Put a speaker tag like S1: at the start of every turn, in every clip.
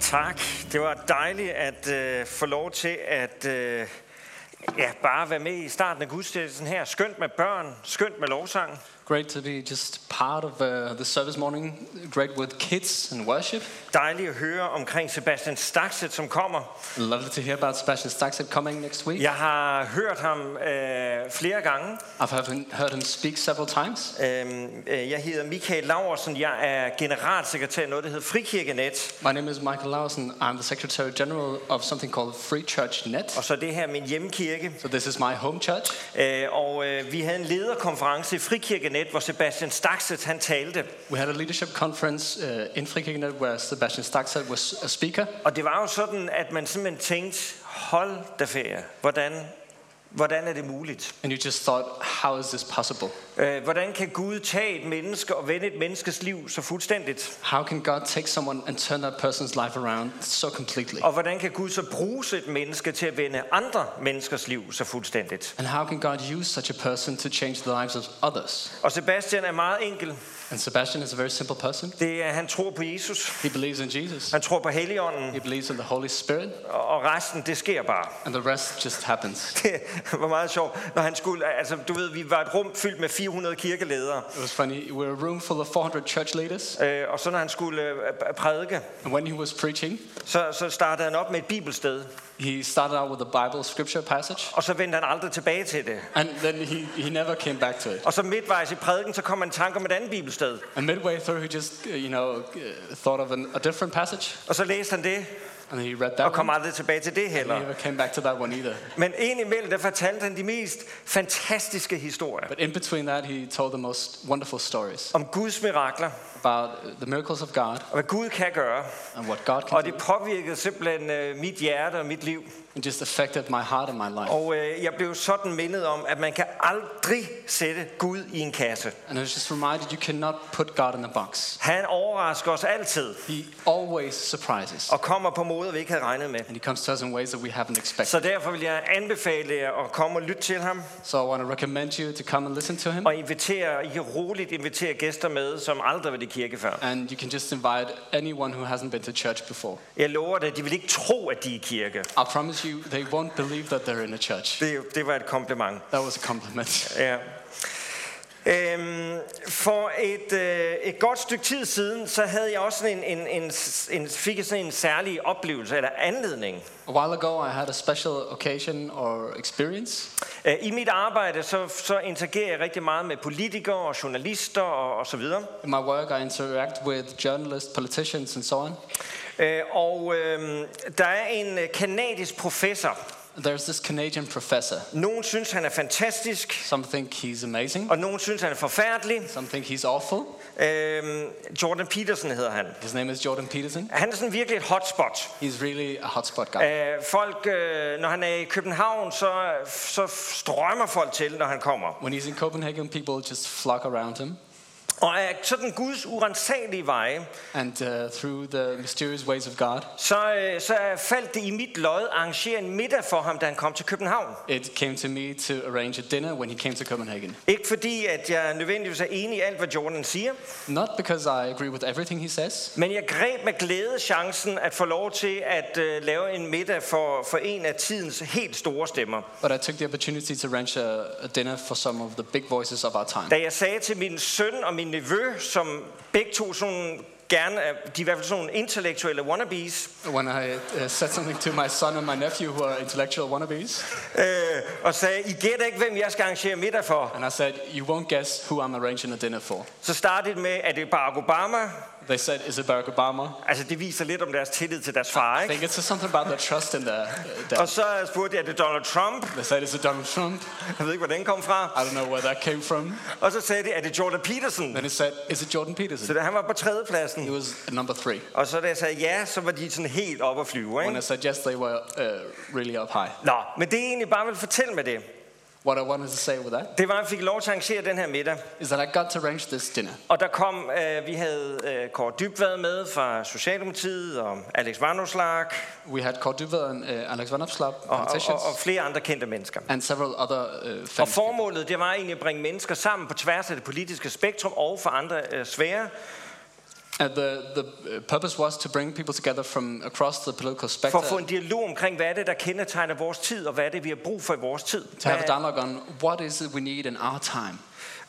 S1: Tak. Det var dejligt at øh, få lov til at øh, ja, bare være med i starten af gudstjenesten her. Skønt med børn, skønt med lovsang.
S2: Great to be just part of uh, the service morning. Great with kids and worship.
S1: Dejligt at høre omkring Sebastian Stakset, som kommer.
S2: Lovely to hear about Sebastian Staxet coming next week.
S1: Jeg har hørt ham øh, flere gange.
S2: I've heard him, heard him speak several times.
S1: Øhm, øh, jeg hedder Michael Laursen. Jeg er generalsekretær i noget, der hedder Frikirkenet.
S2: My name is Michael Lausen. I'm the Secretary General of something called Free Church Net.
S1: Og så er det her er min hjemkirke.
S2: So this is my home church.
S1: Øh, og øh, vi havde en lederkonference i Frikirkenet, hvor Sebastian Stakset han talte.
S2: We had a leadership conference uh, in Frikirkenet where Sebastian Staxet was a speaker.
S1: Og det var jo sådan, at man simpelthen tænkte, hold da ferie, hvordan, hvordan er det muligt?
S2: And you just thought, how is this possible?
S1: Øh, Hvordan kan Gud tage et menneske og vende et menneskes liv så fuldstændigt?
S2: How can God take someone and turn that person's life around so completely?
S1: Og hvordan kan Gud så bruge et menneske til at vende andre menneskers liv så fuldstændigt?
S2: And how can God use such a person to change the lives of others?
S1: Og Sebastian er meget enkel.
S2: And Sebastian is a very simple person.
S1: Det er, han tror på Jesus,
S2: He believes in Jesus.
S1: han tror på Helligånden,
S2: He believes in the Holy Spirit,
S1: og og resten, det sker bare.
S2: and the rest just happens.
S1: Det var meget sjovt, når han skulle... Altså, du ved, vi var et rum fyldt med 400 kirkeledere,
S2: It was funny. We're a room full of 400 church leaders,
S1: øh, og så når han skulle øh, prædike,
S2: and when he was preaching,
S1: så, så startede han op med et bibelsted.
S2: he started out with a Bible scripture passage,
S1: Og så vendte han aldrig tilbage til det.
S2: and then he, he never came back to it.
S1: Og så midtvejs i prædiken, så kom han i tanke om et andet bibelsted.
S2: And midway through, he just uh, you know uh, thought of an, a different passage,
S1: Og så læste han det,
S2: and he read that
S1: og kom
S2: one.
S1: aldrig tilbage til det
S2: He
S1: heller.
S2: never came back to that one either.
S1: Men indimellem, der fortalte han de mest fantastiske historier.
S2: But in between that, he told the most wonderful stories
S1: Om Guds mirakler,
S2: about uh, the miracles of God
S1: og hvad Gud kan gøre.
S2: and what God can
S1: Og
S2: do.
S1: det påvirkede simpelthen øh, mit hjerte og mit liv.
S2: It just affected my heart and my life.
S1: Og øh, jeg blev sådan mindet om, at man kan aldrig sætte Gud i en kasse.
S2: And I was just reminded you cannot put God in a box.
S1: Han overrasker os altid,
S2: He always surprises.
S1: og kommer på måder, vi ikke havde regnet med.
S2: And he comes to us in ways that we haven't expected.
S1: Så derfor vil jeg anbefale jer at komme og lytte til ham.
S2: So I want to recommend you to come and listen to him.
S1: og invitere, I kan roligt invitere gæster med, som aldrig har været i kirke før.
S2: And you can just invite anyone who hasn't been to church before.
S1: Jeg lover dig, de vil ikke tro, at de er i kirke.
S2: I promise you, they won't believe that they're in a church.
S1: Det, det var et kompliment.
S2: That was a compliment.
S1: Ja. Øhm, for et, øh, et godt stykke tid siden, så havde jeg også sådan en, en, en, en, fik jeg sådan en særlig oplevelse eller anledning.
S2: A while ago, I had a special occasion or experience.
S1: Øh, I mit arbejde, så, så interagerer jeg rigtig meget med politikere og journalister og, og så videre.
S2: In my work, I interact with journalists, politicians, and so on.
S1: Øh, og øh, der er en øh, kanadisk professor.
S2: There's this Canadian professor.
S1: Nogen synes, han er fantastisk.
S2: Some think he's amazing.
S1: Og nogen synes, han er forfærdelig.
S2: Some think he's awful.
S1: Øhm, Jordan Peterson hedder han.
S2: His name is Jordan Peterson.
S1: Han er sådan virkelig et hotspot.
S2: He's really a hotspot guy.
S1: Øh, folk, øh, når han er i København, så, så strømmer folk til, når han kommer.
S2: When he's in Copenhagen, people just flock around him.
S1: Og af sådan Guds urensagelige veje,
S2: And uh, through the mysterious ways of God,
S1: så, øh, så faldt det i mit lod at arrangere en middag for ham, da han kom til København.
S2: it came to me to arrange a dinner when he came to Copenhagen.
S1: Ikke fordi, at jeg nødvendigvis er enig i alt, hvad Jordan siger,
S2: Not because I agree with everything he says,
S1: men jeg greb med glæde chancen at få lov til at øh, lave en middag for, for en af tidens helt store stemmer.
S2: but I took the opportunity to arrange a, a dinner for some of the big voices of our time.
S1: Da jeg sagde til min søn og min nevø, som begge to sådan gerne er, de er i hvert fald sådan nogle intellektuelle wannabes,
S2: When I uh, said something to my son and my nephew, who are intellectual wannabes,
S1: øh, og sagde, I gætter ikke, hvem jeg skal arrangere middag for.
S2: and I said, You won't guess who I'm arranging a dinner for.
S1: Så startede det med, at det er Barack Obama.
S2: They said, Is it Barack Obama?
S1: Altså, det viser lidt om deres tillid til deres far,
S2: I
S1: ikke?
S2: think it's just something about the trust in there. uh, there.
S1: Og så spurgte jeg, er det Donald Trump?
S2: They said, Is it Donald Trump?
S1: Jeg ved ikke, hvor den kom fra.
S2: I don't know where that came from.
S1: Og så sagde de, er det Jordan Peterson?
S2: Then it said, Is it Jordan
S1: Så
S2: Peterson?
S1: da han var på
S2: He
S1: tredjepladsen.
S2: was number three.
S1: Og så da jeg sagde ja, så var de sådan helt oppe at flyve,
S2: When I
S1: ikke?
S2: said yes, they were uh, really up high.
S1: Nå, men det jeg egentlig bare vil fortælle med det,
S2: What I wanted to say with that
S1: det var, at jeg fik lov til at arrangere den her middag.
S2: is that I got to arrange this dinner.
S1: Og der kom, øh, vi havde øh, Kåre Dybvad med fra Socialdemokratiet, og Alex Vanderslag,
S2: We had Corduva and uh, Alex Van Opslap,
S1: og, og,
S2: politicians,
S1: og, og flere andre kendte mennesker.
S2: and several other uh,
S1: Og
S2: famous
S1: formålet, det var egentlig at bringe mennesker sammen på tværs af det politiske spektrum og for andre øh, sfære.
S2: And the, the uh, purpose was to bring people together from across the political
S1: for
S2: spectrum
S1: at få en dialog omkring, hvad er det, der kendetegner vores tid, og hvad er det, vi har brug for i vores tid.
S2: to have a
S1: Hvad-
S2: dialogue on what is it we need in our time.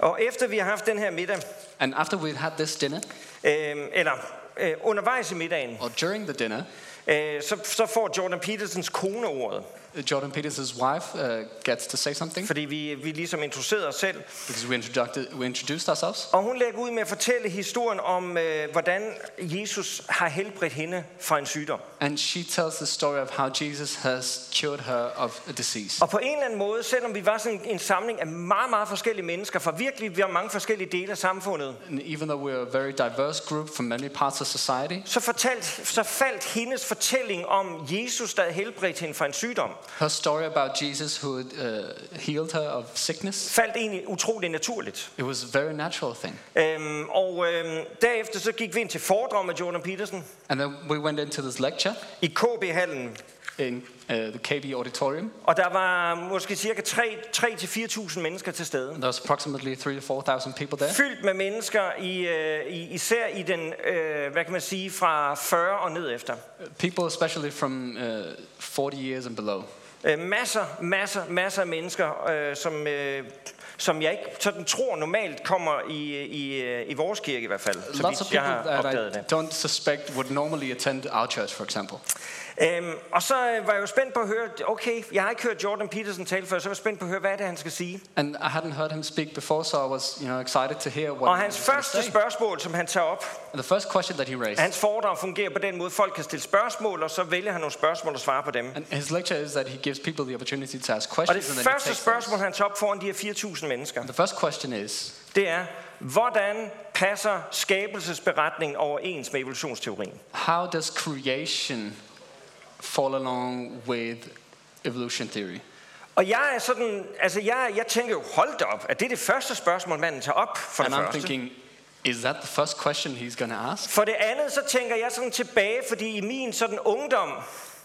S1: Øh, Og efter vi har haft den her middag,
S2: And after we had this dinner,
S1: øh, eller øh, undervejs i middagen,
S2: or during the dinner,
S1: øh, så, så får Jordan Petersens kone ordet.
S2: uh, Jordan Peterson's wife uh, gets to say something
S1: Fordi vi, vi ligesom introducerede os selv.
S2: because we introduced, we introduced ourselves.
S1: Og hun lægger ud med at fortælle historien om, øh, hvordan Jesus har helbredt hende fra en sygdom.
S2: And she tells the story of how Jesus has cured her of a disease.
S1: Og på en eller anden måde, selvom vi var sådan en samling af meget, meget forskellige mennesker, fra virkelig vi var mange forskellige dele af samfundet,
S2: And even though we're a very diverse group from many parts of society,
S1: så, fortalt, så faldt hendes fortælling om Jesus, der havde helbredt hende fra en sygdom,
S2: her story about Jesus who had uh, healed her of sickness,
S1: faldt egentlig utrolig naturligt.
S2: it was a very natural thing.
S1: Øhm, og øhm, derefter så gik vi ind til foredrag med Jordan Peterson
S2: And then we went into this lecture
S1: i KB-hallen,
S2: in uh, the KB auditorium.
S1: og der var måske cirka 3-4.000 mennesker til stede.
S2: And there was approximately three to 4,000 people there.
S1: Fyldt med mennesker, i, øh, i, især i den, øh, hvad kan man sige, fra 40 og ned efter.
S2: People especially from uh, 40 years and below.
S1: Øh, masser, masser, masser af mennesker, øh, som, øh, som jeg ikke sådan tror normalt kommer i, i, øh, i vores kirke i hvert fald, så
S2: Lots of
S1: vidt jeg
S2: people
S1: har
S2: that
S1: opdaget
S2: I
S1: det.
S2: don't suspect would normally attend our church, for example.
S1: Øhm, og så øh, var jeg jo spændt på at høre, okay, jeg har ikke hørt Jordan Peterson tale før, så var jeg spændt på at høre, hvad er det, han skal sige.
S2: And I hadn't heard him speak before, so I was, you know, excited to hear what.
S1: Og
S2: he
S1: hans
S2: was gonna
S1: første
S2: say.
S1: spørgsmål, som han tager op,
S2: And the first question that he raised,
S1: hans foredrag fungerer på den måde, folk kan stille spørgsmål, og så vælger han nogle spørgsmål og svarer på dem.
S2: and his lecture is that he gives people the opportunity to ask
S1: Og det
S2: questions. and then he
S1: første
S2: takes
S1: spørgsmål,
S2: those.
S1: han tager op foran de her 4.000 mennesker,
S2: The first question is,
S1: det er, hvordan passer skabelsesberetningen overens med evolutionsteorien?
S2: how does creation fall along with evolution theory?
S1: Og jeg er sådan, altså jeg, jeg tænker jo, hold da op, at det er det første spørgsmål, manden tager op for det
S2: And I'm
S1: første.
S2: thinking, is that the first question he's going to ask?
S1: For det andet, så tænker jeg sådan tilbage, fordi i min sådan ungdom,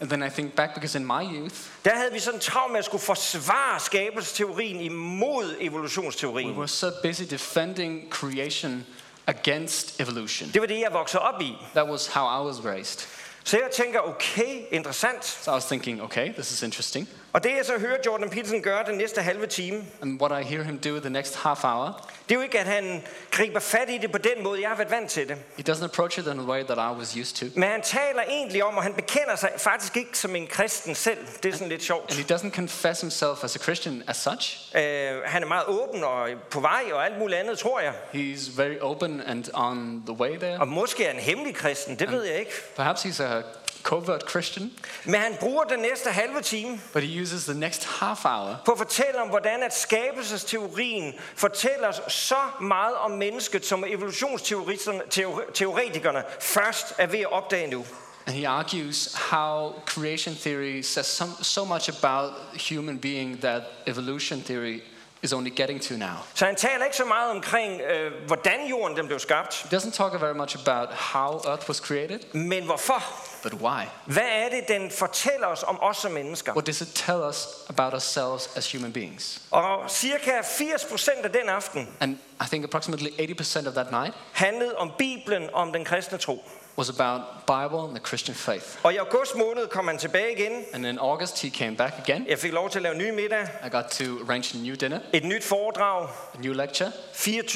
S2: And then I think back because in my youth,
S1: der havde vi sådan travlt med at skulle forsvare skabelsesteorien imod
S2: we
S1: evolutionsteorien.
S2: were so busy defending creation against evolution.
S1: Det var det, jeg voksede op i.
S2: That was how I was raised.
S1: Så jeg tænker, okay, interessant.
S2: So I was thinking, okay, this is interesting.
S1: Og det, jeg så hører Jordan Peterson gøre den næste halve time,
S2: And what I hear him do the next half hour,
S1: det er jo ikke, at han griber fat i det på den måde, jeg har været vant til det.
S2: he doesn't approach it in a way that I was used to.
S1: Men han taler egentlig om, og han bekender sig faktisk ikke som en kristen selv. Det er sådan lidt sjovt.
S2: And he doesn't confess himself as a Christian as such.
S1: Øh, han er meget åben og på vej og alt muligt andet, tror jeg.
S2: He's very open and on the way there.
S1: Og måske er han hemmelig kristen, det ved jeg ikke.
S2: Perhaps he's a covert Christian,
S1: Men han bruger den næste halve time
S2: but he uses the next half hour
S1: på at fortælle om, hvordan at skabelsesteorien fortæller os så meget om mennesket, som evolutionsteoretikerne først er ved at opdage nu.
S2: and he argues how creation theory says some, so much about human being that evolution theory is only getting to now.
S1: Så han taler ikke så meget omkring, øh, hvordan jorden den blev skabt,
S2: He doesn't talk very much about how Earth was created,
S1: men hvorfor?
S2: but why.
S1: Hvad er det, den fortæller os om os som mennesker?
S2: What does it tell us about ourselves as human beings?
S1: Og cirka 80% af den aften
S2: And I think approximately 80% of that night
S1: handlede om Bibelen og om den kristne tro.
S2: was about Bible and the Christian faith.
S1: Og i august måned kom han tilbage igen.
S2: And in August, he came back again.
S1: Jeg fik lov til at lave en ny middag,
S2: I got to arrange a new dinner,
S1: et nyt foredrag,
S2: a new lecture,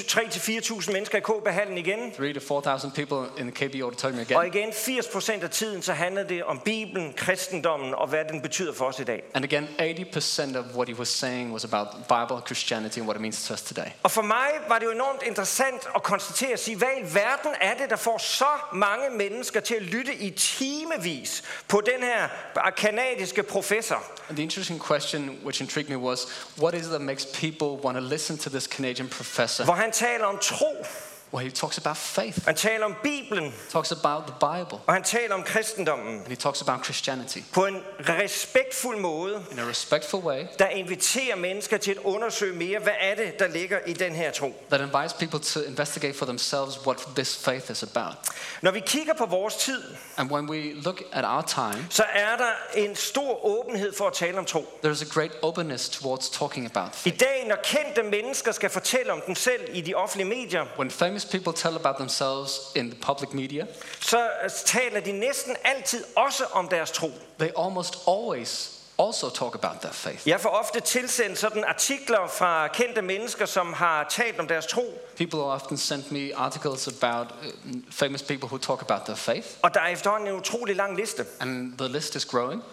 S1: 3-4.000 mennesker i KB-hallen igen.
S2: three to 4,000 people in the KB auditorium
S1: Og
S2: again.
S1: igen, 80% af tiden, så handlede det om Bibelen, kristendommen og hvad den betyder for os i dag.
S2: And again, 80% of what he was saying was about Bible, Christianity, and what it means to us today.
S1: Og for mig var det jo enormt interessant at konstatere og sige, hvad i verden er det, der får så mange mennesker til at lytte i timevis på den her kanadiske professor?
S2: And the interesting question which intrigued me was what is it that makes people want to listen to this Canadian professor?
S1: Hvor han taler om tro,
S2: Well, he talks about faith,
S1: han taler om Bibelen,
S2: talks about the Bible,
S1: og han taler om kristendommen
S2: and he talks about Christianity
S1: på en respektfuld måde,
S2: in a respectful way
S1: der inviterer mennesker til at undersøge mere, hvad er det, der ligger i den her tro.
S2: that invites people to investigate for themselves what this faith is about.
S1: Når vi kigger på vores tid,
S2: And when we look at our time,
S1: så er der en stor åbenhed for at tale om tro.
S2: there's a great openness towards talking about
S1: I
S2: faith.
S1: dag, når kendte mennesker skal fortælle om den selv i de offentlige medier,
S2: When famous famous people tell about themselves in the public media,
S1: så taler de næsten altid også om deres tro.
S2: they almost always also talk about their faith.
S1: Jeg får ofte tilsendt sådan artikler fra kendte mennesker, som har talt om deres tro,
S2: People often send me articles about uh, famous people who talk about their faith,
S1: og der er efterhånden en utrolig lang liste.
S2: and the list is growing.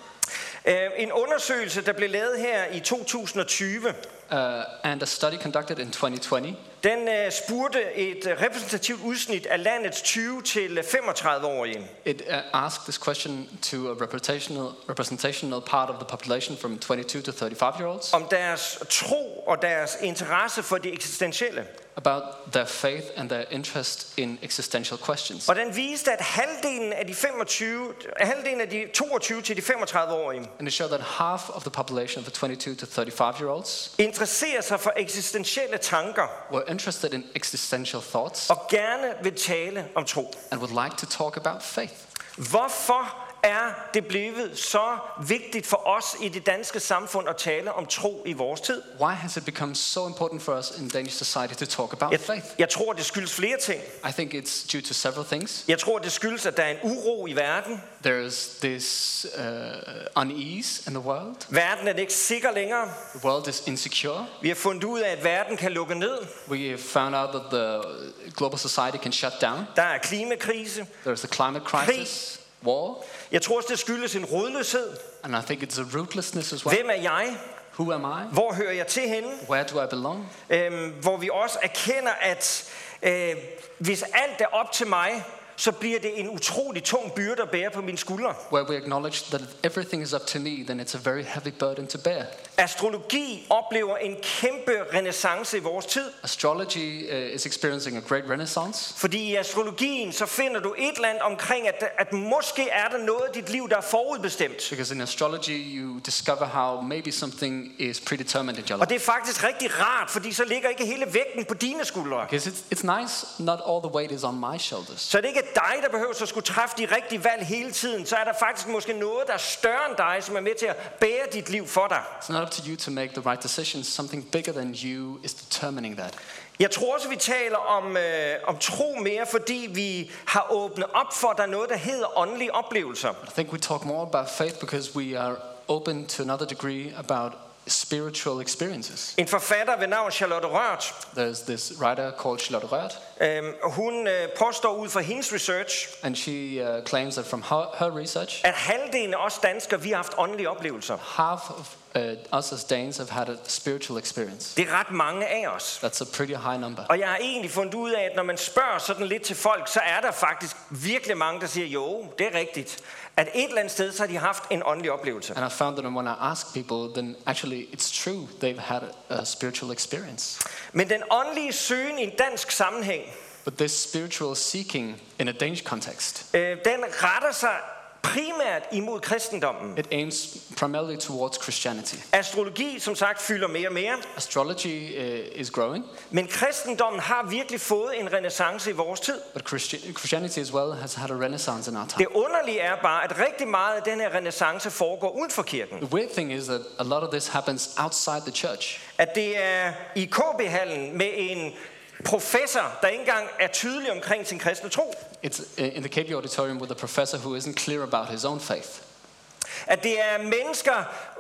S1: Øh, En undersøgelse, der blev lavet her i 2020,
S2: Uh, and a study conducted in 2020
S1: den øh, spurgte et øh, repræsentativt udsnit af landets 20-35-årige.
S2: It uh, asked this question to a representational, representational part of the population from 22 to 35 year olds
S1: om deres tro og deres interesse for det eksistentielle.
S2: about their faith and their interest in existential questions.
S1: Og den viste, at halvdelen af de, 25, halvdelen af de 22 til de 35-årige
S2: And it showed that half of the population of the 22 to 35 year olds
S1: interesserer sig for eksistentielle tanker
S2: were interested in existential thoughts
S1: og gerne vil tale om tro.
S2: and would like to talk about faith.
S1: Hvorfor er det blevet så vigtigt for os i det danske samfund at tale om tro i vores tid?
S2: Why has it become so important for us in Danish society to talk about
S1: Jeg,
S2: faith?
S1: jeg tror, det skyldes flere ting.
S2: I think it's due to several things.
S1: Jeg tror, det skyldes, at der er en uro i verden.
S2: There's this uh, unease in the world,
S1: Verden er det ikke sikker længere.
S2: the world is insecure.
S1: Vi har fundet ud af, at verden kan lukke ned.
S2: We have found out that the global society can shut down.
S1: Der er klimakrise.
S2: There's the climate crisis, war,
S1: Jeg tror også, det skyldes en rodløshed.
S2: and I think it's a rootlessness as well.
S1: Hvem er jeg?
S2: Who am I?
S1: Hvor hører jeg til henne?
S2: Where do I belong?
S1: Øhm, hvor vi også erkender, at øh, hvis alt er op til mig, så bliver det en utrolig tung byrde at bære på mine skuldre.
S2: Where we acknowledge that if everything is up to me, then it's a very heavy burden to bear.
S1: Astrologi oplever en kæmpe renaissance i vores tid.
S2: Astrology uh, is experiencing a great renaissance
S1: Fordi i astrologien, så finder du et eller andet omkring, at, at måske er der noget i dit liv, der er forudbestemt.
S2: because in astrology you discover how maybe something is predetermined in your
S1: Og
S2: life.
S1: det er faktisk rigtig rart, fordi så ligger ikke hele vægten på dine skuldre.
S2: Because it's, it's nice, not all the weight is on my shoulders.
S1: Så det ikke er dig, der behøver at skulle træffe de rigtige valg hele tiden, så er der faktisk måske noget, der er større end dig, som er med til at bære dit liv for dig.
S2: It's not up to you to make the right decisions. Something bigger than you is determining that.
S1: Jeg tror også, vi taler om, øh, om tro mere, fordi vi har åbnet op for, at der er noget, der hedder åndelige oplevelser.
S2: I think we talk more about faith because we are open to another degree about spiritual experiences.
S1: En forfatter ved navn Charlotte Rørt,
S2: There's this writer called Charlotte Rørt,
S1: øh, hun øh, påstår ud fra hendes research,
S2: and she uh, claims that from her, her research,
S1: at halvdelen af os danskere, vi har haft åndelige oplevelser.
S2: half of uh, us as Danes have had a spiritual experience.
S1: Det er ret mange af os.
S2: That's a pretty high number.
S1: Og jeg har egentlig fundet ud af, at når man spørger sådan lidt til folk, så er der faktisk virkelig mange, der siger, jo, det er rigtigt. At et eller andet sted, så har de haft en åndelig oplevelse.
S2: And I found that when I ask people, then actually it's true they've had a spiritual experience.
S1: Men den åndelige søgen i en dansk sammenhæng,
S2: But this spiritual seeking in a Danish context,
S1: øh, den retter sig primært imod kristendommen.
S2: it aims primarily towards Christianity.
S1: Astrologi, som sagt, fylder mere og mere,
S2: Astrology uh, is growing,
S1: men kristendommen har virkelig fået en renaissance i vores tid.
S2: But Christi- Christianity as well has had a renaissance in our time.
S1: Det underlige er bare, at rigtig meget af den her renaissance foregår uden for kirken.
S2: The weird thing is that a lot of this happens outside the church.
S1: at det er i KB-hallen med en professor, der ikke engang er tydelig omkring sin kristne tro.
S2: It's i- in the KB auditorium with a professor who isn't clear about his own faith.
S1: At det er mennesker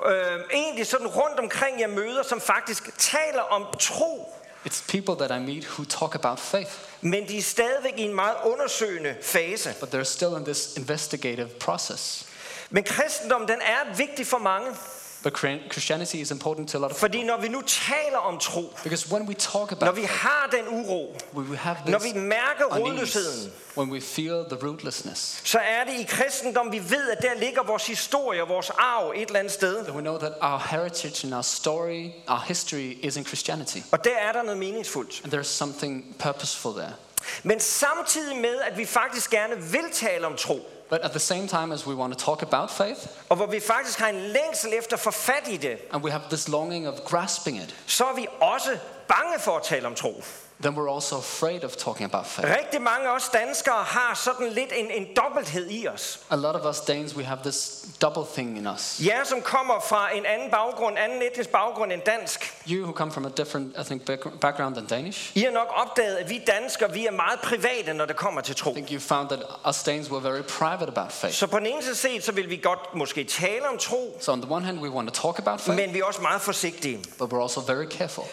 S1: øh, egentlig sådan rundt omkring, jeg møder, som faktisk taler om tro,
S2: It's people that I meet who talk about faith,
S1: men de er stadigvæk i en meget undersøgende fase.
S2: but they're still in this investigative process.
S1: Men kristendommen, den er vigtig for mange,
S2: But Chri- Christianity is important to a lot of
S1: fordi når vi nu taler om tro,
S2: because when we talk
S1: når
S2: about
S1: vi
S2: faith,
S1: har den uro,
S2: we we have
S1: når
S2: this
S1: vi mærker
S2: unease,
S1: rodløsheden,
S2: when we feel the rootlessness.
S1: så er det i kristendom, vi ved, at der ligger vores historie og vores arv et eller andet sted.
S2: That we know that our heritage and our story, our history is in Christianity.
S1: Og der er der noget meningsfuldt.
S2: And there's something purposeful there.
S1: Men samtidig med, at vi faktisk gerne vil tale om tro,
S2: But at the same time as we want to talk about faith,
S1: og hvor vi faktisk har en længsel efter at få fat i det,
S2: and we have this longing of grasping it,
S1: så er vi også bange for at tale om tro.
S2: then we're also afraid of talking about faith.
S1: Rigtig mange af os danskere har sådan lidt en, en dobbelthed i os.
S2: A lot of us Danes, we have this double thing in us.
S1: Jer, som kommer fra en anden baggrund, anden etnisk baggrund end dansk,
S2: You who come from a different ethnic back- background than Danish,
S1: I har nok opdaget, at vi danskere, vi er meget private, når det kommer til
S2: I
S1: tro.
S2: think you found that us Danes were very private about faith.
S1: Så på den ene side set, så vil vi godt måske tale om tro,
S2: So on the one hand, we want to talk about faith,
S1: men vi er også meget forsigtige.
S2: but we're also very careful.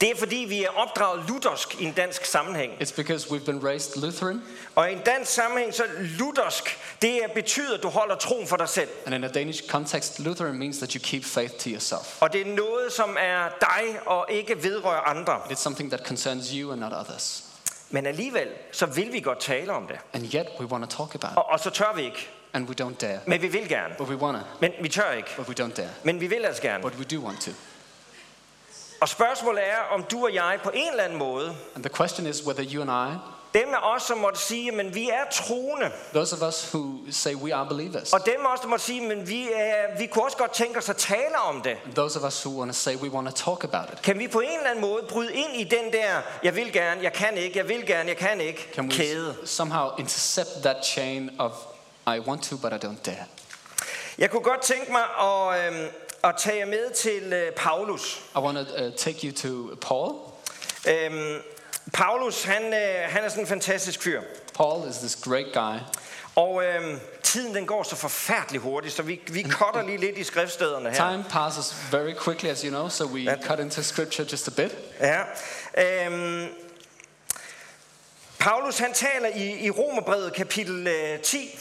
S1: Det er fordi, vi er opdraget luthersk i en dansk sammenhæng.
S2: It's because we've been raised Lutheran,
S1: Og i en dansk sammenhæng, så luthersk, det er- betyder, at du holder troen for dig selv.
S2: and in a Danish context, Lutheran means that you keep faith to yourself.
S1: Og det er noget, som er dig og ikke vedrører andre.
S2: It's something that concerns you and not others.
S1: Men alligevel, så vil vi godt tale om det.
S2: And yet, we want to talk about it,
S1: Og, og så tør vi ikke.
S2: and we don't dare.
S1: Men vi vil gerne.
S2: But we want to,
S1: Men vi tør ikke.
S2: but we don't dare.
S1: Men vi vil altså gerne.
S2: But we do want to.
S1: Og spørgsmålet er, om du og jeg på en eller anden måde,
S2: And the question is whether you and I,
S1: dem af os, som måtte sige, men vi er troende,
S2: those of us who say we are believers,
S1: og dem af os, der måtte sige, men vi, er, vi kunne også godt tænke os at tale om det.
S2: those of us who want to say we want to talk about it,
S1: Kan vi på en eller anden måde bryde ind i den der, jeg vil gerne, jeg kan ikke, jeg vil gerne, jeg kan ikke,
S2: can we
S1: kæde?
S2: somehow intercept that chain of I want to, but I don't dare?
S1: Jeg kunne godt tænke mig at, øhm, at tage jer med til øh, Paulus.
S2: I want to uh, take you to Paul.
S1: Øhm, Paulus, han, øh, han er sådan en fantastisk fyr.
S2: Paul is this great guy,
S1: Og øhm, tiden den går så forfærdeligt hurtigt, så vi, vi cutter lige lidt i skriftstederne her.
S2: Time passes very quickly, as you know, so we
S1: That-
S2: cut into scripture just a bit.
S1: Ja. Øhm, Paulus han taler i, i Romerbrevet kapitel øh, 10,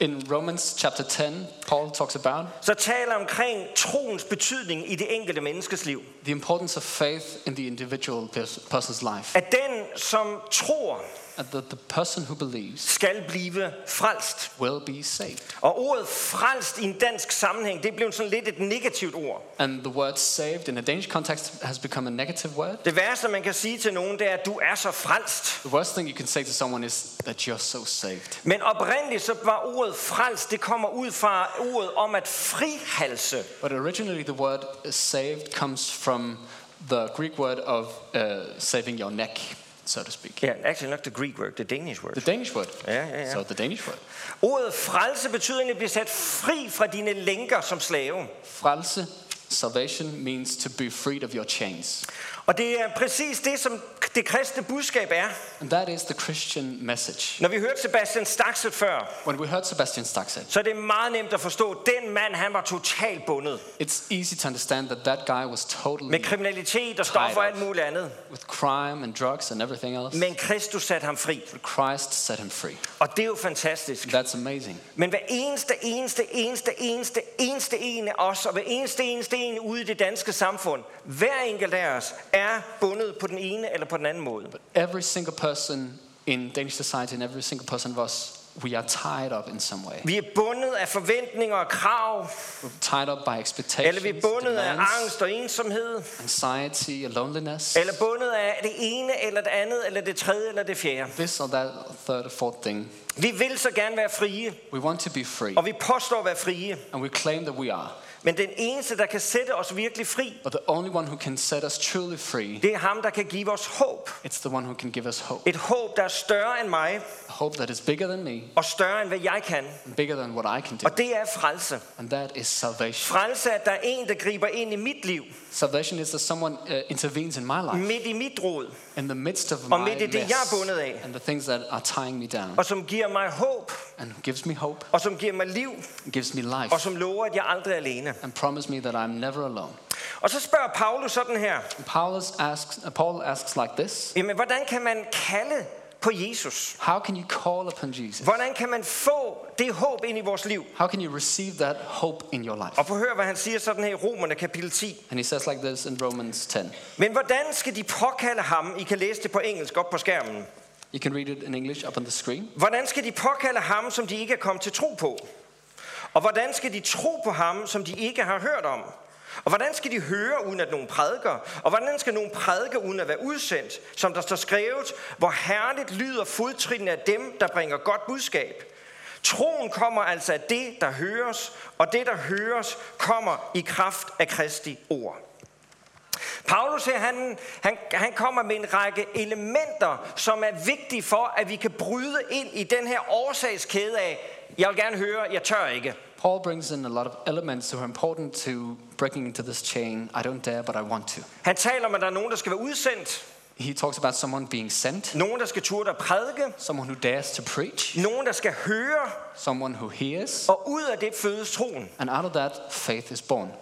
S2: In Romans chapter 10, Paul talks about
S1: så taler omkring troens betydning i det enkelte menneskes liv.
S2: the importance of faith in the individual pers- person's life,
S1: At den, som tror,
S2: and that the person who believes
S1: skal blive frelst.
S2: will be saved.
S1: Og ordet frelst i en dansk sammenhæng, det blev sådan lidt et negativt ord.
S2: And the word saved in a Danish context has become a negative word.
S1: Det værste, man kan sige til nogen, det er, at du er så frelst.
S2: The worst thing you can say to someone is that you're so saved.
S1: Men oprindeligt så var ordet frelst, det kommer ud fra ordet om at frihalse.
S2: But originally, the word saved comes from the Greek word of uh, saving your neck, so to speak.
S1: Ja, yeah, actually not the Greek word, the Danish word.
S2: The Danish word.
S1: Yeah, yeah, yeah.
S2: So the Danish word.
S1: Ordet frelse betyder egentlig at blive sat fri fra dine lænker som slave.
S2: Frelse, salvation means to be freed of your chains.
S1: Og det er præcis det, som det kristne budskab er.
S2: And that is the Christian message.
S1: Når vi hørte Sebastian Stakset før,
S2: When we heard Sebastian Stakset,
S1: så er det meget nemt at forstå, den mand han var totalt bundet
S2: it's easy to understand that that guy was totally
S1: med kriminalitet og stoffer og alt muligt andet.
S2: with crime and drugs and everything else.
S1: Men Kristus satte ham fri,
S2: Christ set him free.
S1: og det er jo fantastisk.
S2: That's amazing.
S1: Men hver eneste, eneste, eneste, eneste, eneste en af os, og hver eneste, eneste en ude i det danske samfund, hver enkelt af os, er bundet på den ene eller på den anden måde.
S2: Every single person in Danish society and every single person of us, we are tied up in some way.
S1: Vi er bundet af forventninger og krav,
S2: We're tied up by expectations,
S1: eller vi er bundet af
S2: demands,
S1: angst og ensomhed,
S2: anxiety, and loneliness.
S1: eller bundet af det ene eller det andet, eller det tredje eller det fjerde.
S2: This or that, third or fourth thing.
S1: Vi vil så gerne være frie,
S2: We want to be free,
S1: og vi påstår at være frie,
S2: and we claim that we are.
S1: men den eneste, der kan sætte os virkelig fri,
S2: But the only one who can set us truly free,
S1: det er ham, der kan give os håb.
S2: it's the one who can give us hope.
S1: Et håb, der er større end mig,
S2: Hope that is bigger than me,
S1: og større end hvad jeg kan.
S2: and bigger than what I can do.
S1: Og det er frelse.
S2: And that is salvation.
S1: Frelse er, at der er en, der griber ind i mit liv,
S2: Salvation is that someone uh, intervenes in my life,
S1: midt i mit råd,
S2: in the midst of
S1: Mm. Og
S2: my
S1: midt i det, jeg er
S2: mess,
S1: bundet af.
S2: and the things that are tying me down,
S1: og som giver mig håb,
S2: and gives me hope,
S1: og som giver mig liv,
S2: gives me life,
S1: og som lover, at jeg aldrig er alene.
S2: and promise me that I'm never alone.
S1: Og så spørger Paulus sådan her,
S2: And Paulus asks, uh, Paul asks like this
S1: Jamen, hvordan kan man kalde på Jesus?
S2: How can you call upon Jesus?
S1: Hvordan kan man få det håb ind i vores liv?
S2: How can you receive that hope in your life?
S1: Og prøv at høre, hvad han siger sådan her i Romerne kapitel 10.
S2: And he says like this in Romans 10.
S1: Men hvordan skal de påkalde ham? I kan læse det på engelsk op på skærmen.
S2: You can read it in English up on the screen.
S1: Hvordan skal de påkalde ham, som de ikke er kommet til tro på? Og hvordan skal de tro på ham, som de ikke har hørt om? Og hvordan skal de høre, uden at nogen prædiker? Og hvordan skal nogen prædike, uden at være udsendt? Som der står skrevet, hvor herligt lyder fodtrinene af dem, der bringer godt budskab. Troen kommer altså af det, der høres, og det, der høres, kommer i kraft af Kristi ord. Paulus her, han, han, han kommer med en række elementer, som er vigtige for, at vi kan bryde ind i den her årsagskæde af, jeg vil gerne høre, jeg tør ikke.
S2: Paul brings in a lot of elements that are important to breaking into this chain. I don't dare, but I want to.
S1: Han taler om, at der er nogen, der skal være udsendt.
S2: He talks about someone being sent,
S1: Nogen, der skal turde at prædike.
S2: someone who dares to preach,
S1: Nogen, der skal høre.
S2: someone who hears,
S1: Og ud af det fødes troen.
S2: and out of that, faith is born.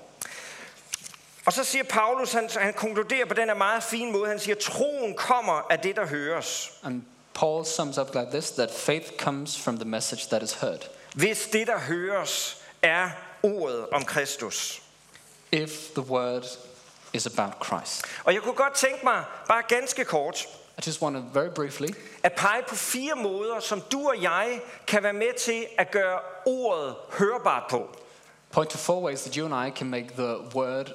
S1: Og så siger Paulus, han, han konkluderer på den her meget fine måde, han siger, troen kommer af det, der høres.
S2: And Paul sums up like this that faith comes from the message that is heard.
S1: Hvis det, der høres, er ordet om Kristus.
S2: If the word is about Christ.
S1: Og jeg kunne godt tænke mig, bare ganske kort,
S2: I just want to very briefly
S1: at pege på fire måder, som du og jeg kan være med til at gøre ordet hørbart på.
S2: point to four ways that you and I can make the word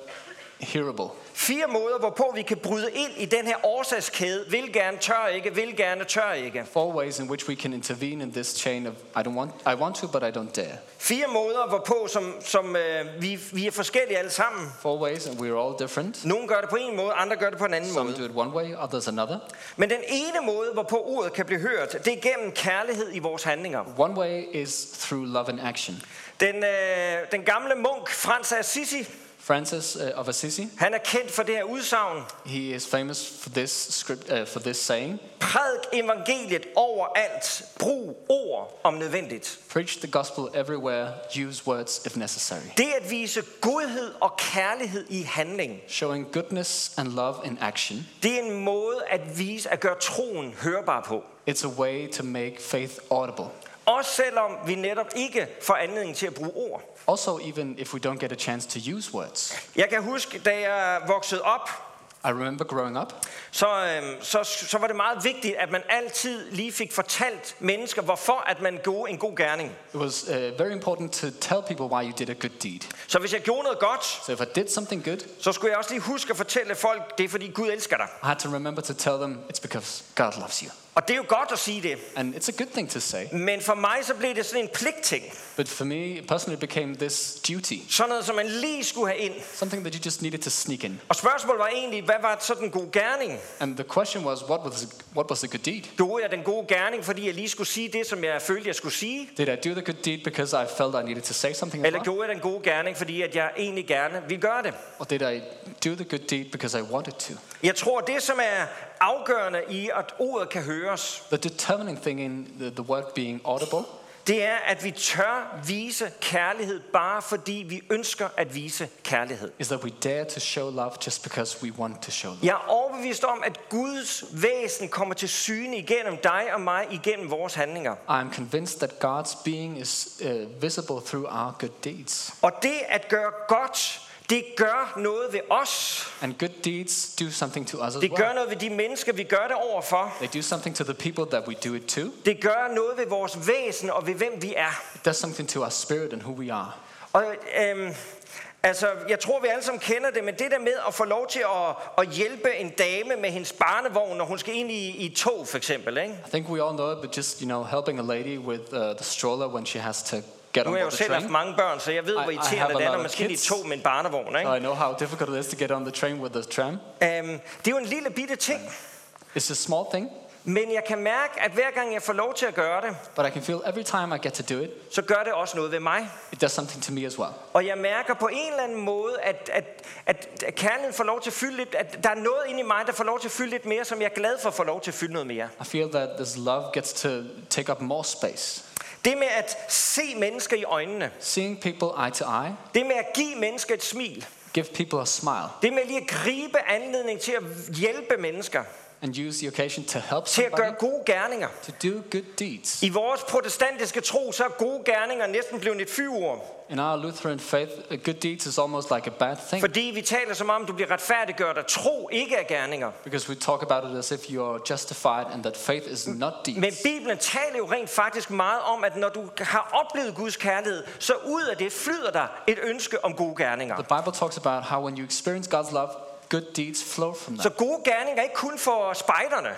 S2: hearable.
S1: Fire måder, hvorpå vi kan bryde ind i den her årsagskæde. Vil gerne, tør ikke, vil gerne, tør ikke.
S2: Four ways in which we can intervene in this chain of I don't want I want to but I don't dare.
S1: Fire måder, hvorpå som, som øh, vi, vi er forskellige alle sammen.
S2: Four ways and we're all different.
S1: Nogle gør det på en måde, andre gør det på en anden
S2: Some
S1: måde.
S2: do it one way, others another.
S1: Men den ene måde, hvorpå ordet kan blive hørt, det er gennem kærlighed i vores handlinger.
S2: One way is through love and action.
S1: Den, øh, den gamle munk, Frans af Assisi,
S2: Francis uh, of Assisi,
S1: han er kendt for det her udsagn.
S2: he is famous for this script uh, for this saying,
S1: Prædik evangeliet overalt. Brug ord om nødvendigt.
S2: preach the gospel everywhere, use words if necessary.
S1: Det at vise godhed og kærlighed i handling,
S2: Showing goodness and love in action.
S1: det er en måde at vise, at gøre troen hørbar på.
S2: It's a way to make faith audible.
S1: Også selvom vi netop ikke får anledning til at bruge ord.
S2: Also even if we don't get a chance to use words.
S1: Jeg kan huske, da jeg voksede op,
S2: I remember growing up,
S1: så, øhm, så, så var det meget vigtigt, at man altid lige fik fortalt mennesker, hvorfor at man gjorde en god gerning.
S2: it was uh, very important to tell people why you did a good deed.
S1: Så hvis jeg gjorde noget godt,
S2: So if I did something good,
S1: så skulle jeg også lige huske at fortælle folk, det er fordi Gud elsker dig.
S2: I had to remember to tell them it's because God loves you.
S1: Og det er jo godt at sige det,
S2: And it's a good thing to say,
S1: men for mig så blev det sådan en pligtting.
S2: but for me personally, it became this duty,
S1: Sådan noget, som man lige skulle have ind.
S2: something that you just needed to sneak in.
S1: Og spørgsmålet var egentlig, hvad var sådan en god gerning?
S2: And the question was, what was what was the good deed?
S1: Gjorde jeg den gode gerning, fordi jeg lige skulle sige det, som jeg følte, jeg skulle sige?
S2: Did I do the good deed because I felt I needed to say something? as
S1: Eller
S2: well?
S1: gjorde jeg den gode gerning, fordi at jeg egentlig gerne vil gøre det?
S2: Or did I do the good deed because I wanted to?
S1: Jeg tror, det som er afgørende i, at ordet kan høres,
S2: The determining thing in the, the word being audible
S1: det er, at vi tør vise kærlighed, bare fordi vi ønsker at vise kærlighed.
S2: is that we dare to show love just because we want to show love.
S1: Jeg er overbevist om, at Guds væsen kommer til syne igennem dig og mig, igennem vores handlinger.
S2: I'm convinced that God's being is uh, visible through our good deeds.
S1: Og det at gøre godt, det gør noget ved os.
S2: And good deeds do something to us as
S1: Det gør
S2: well.
S1: noget ved de mennesker, vi gør det overfor.
S2: They do something to the people that we do it to.
S1: Det gør noget ved vores væsen og ved hvem vi er.
S2: It does something to our spirit and who we are.
S1: Og øhm, altså, jeg tror, vi alle sammen kender det, men det der med at få lov til at, at hjælpe en dame med hendes barnevogn, når hun skal ind i, i et tog, for eksempel. Ikke?
S2: I think we all know it, but just, you know, helping a lady with uh, the stroller when she has to get
S1: Nu har
S2: on
S1: jeg
S2: board
S1: jo
S2: the
S1: selv haft
S2: train.
S1: mange børn, så jeg ved, hvor
S2: I- I have
S1: irriterende
S2: a
S1: det er,
S2: lot
S1: når man
S2: of
S1: skal ind i et
S2: kids.
S1: tog med en barnevogn. Ikke?
S2: I know how difficult it is to get on the train with the tram.
S1: Øhm, det er jo en lille bitte ting,
S2: It's a small thing,
S1: men jeg kan mærke, at hver gang jeg får lov til at gøre det,
S2: but I can feel every time I get to do it,
S1: så gør det også noget ved mig.
S2: it does something to me as well.
S1: Og jeg mærker på en eller anden måde, at, at, at, at kærligheden får lov til at fylde lidt, at der er noget inde i mig, der får lov til at fylde lidt mere, som jeg er glad for at få lov til at fylde noget mere.
S2: I feel that this love gets to take up more space.
S1: Det med at se mennesker i øjnene,
S2: Seeing people eye to eye,
S1: det med at give mennesker et smil,
S2: give people a smile,
S1: det med lige at gribe anledning til at hjælpe mennesker,
S2: and use the occasion to help
S1: til at gøre
S2: somebody
S1: gode gerninger.
S2: to do good deeds.
S1: I vores protestantiske tro, så er gode gerninger næsten blevet et fyord,
S2: In our Lutheran faith, uh, good deeds is almost like a bad thing
S1: fordi vi taler som om, du bliver retfærdiggjort, og tro ikke er gerninger.
S2: because we talk about it as if you're justified and that faith is not
S1: Men
S2: deeds.
S1: Bibelen taler jo rent faktisk meget om, at når du har oplevet Guds kærlighed, så ud af det flyder der et ønske om gode gerninger.
S2: The Bible talks about how when you experience God's love, good deeds flow from that.
S1: Så gode gerninger er ikke kun for spejderne.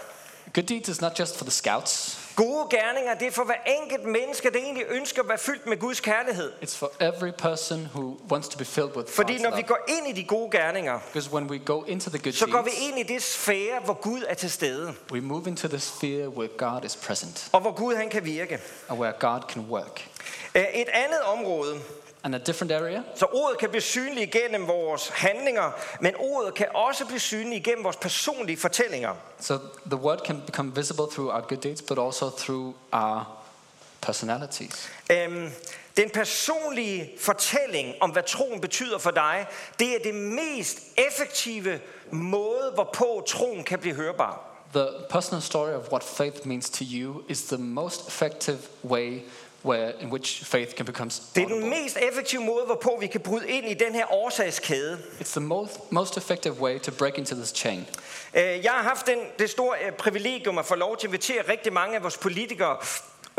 S2: Good deeds is not just for the scouts,
S1: Gode gerninger, det er for hver enkelt menneske, der egentlig ønsker at være fyldt med Guds kærlighed.
S2: it's for every person who wants to be filled with
S1: Fordi
S2: God's
S1: når vi
S2: love.
S1: går ind i de gode gerninger,
S2: Because when we go into the good
S1: så går vi
S2: deeds,
S1: ind i det sfære, hvor Gud er til stede,
S2: we move into the sphere where God is present
S1: og hvor Gud han kan virke.
S2: and where God can work.
S1: Øh, Et andet område,
S2: And a different area,
S1: så ordet kan blive synligt igennem vores handlinger, men ordet kan også blive synligt igennem vores personlige fortællinger.
S2: so the word can become visible through our good deeds, but also through our personalities.
S1: Øhm, den personlige fortælling om, hvad troen betyder for dig, det er det mest effektive måde, hvorpå troen kan blive hørbar.
S2: The personal story of what faith means to you is the most effective way where, in which faith can become
S1: Det er den
S2: audible.
S1: mest effektive måde, hvorpå vi kan bryde ind i den her årsagskæde.
S2: It's the most, most effective way to break into this chain.
S1: Øh, Jeg har haft den, det store øh, privilegium at få lov til at invitere rigtig mange af vores politikere,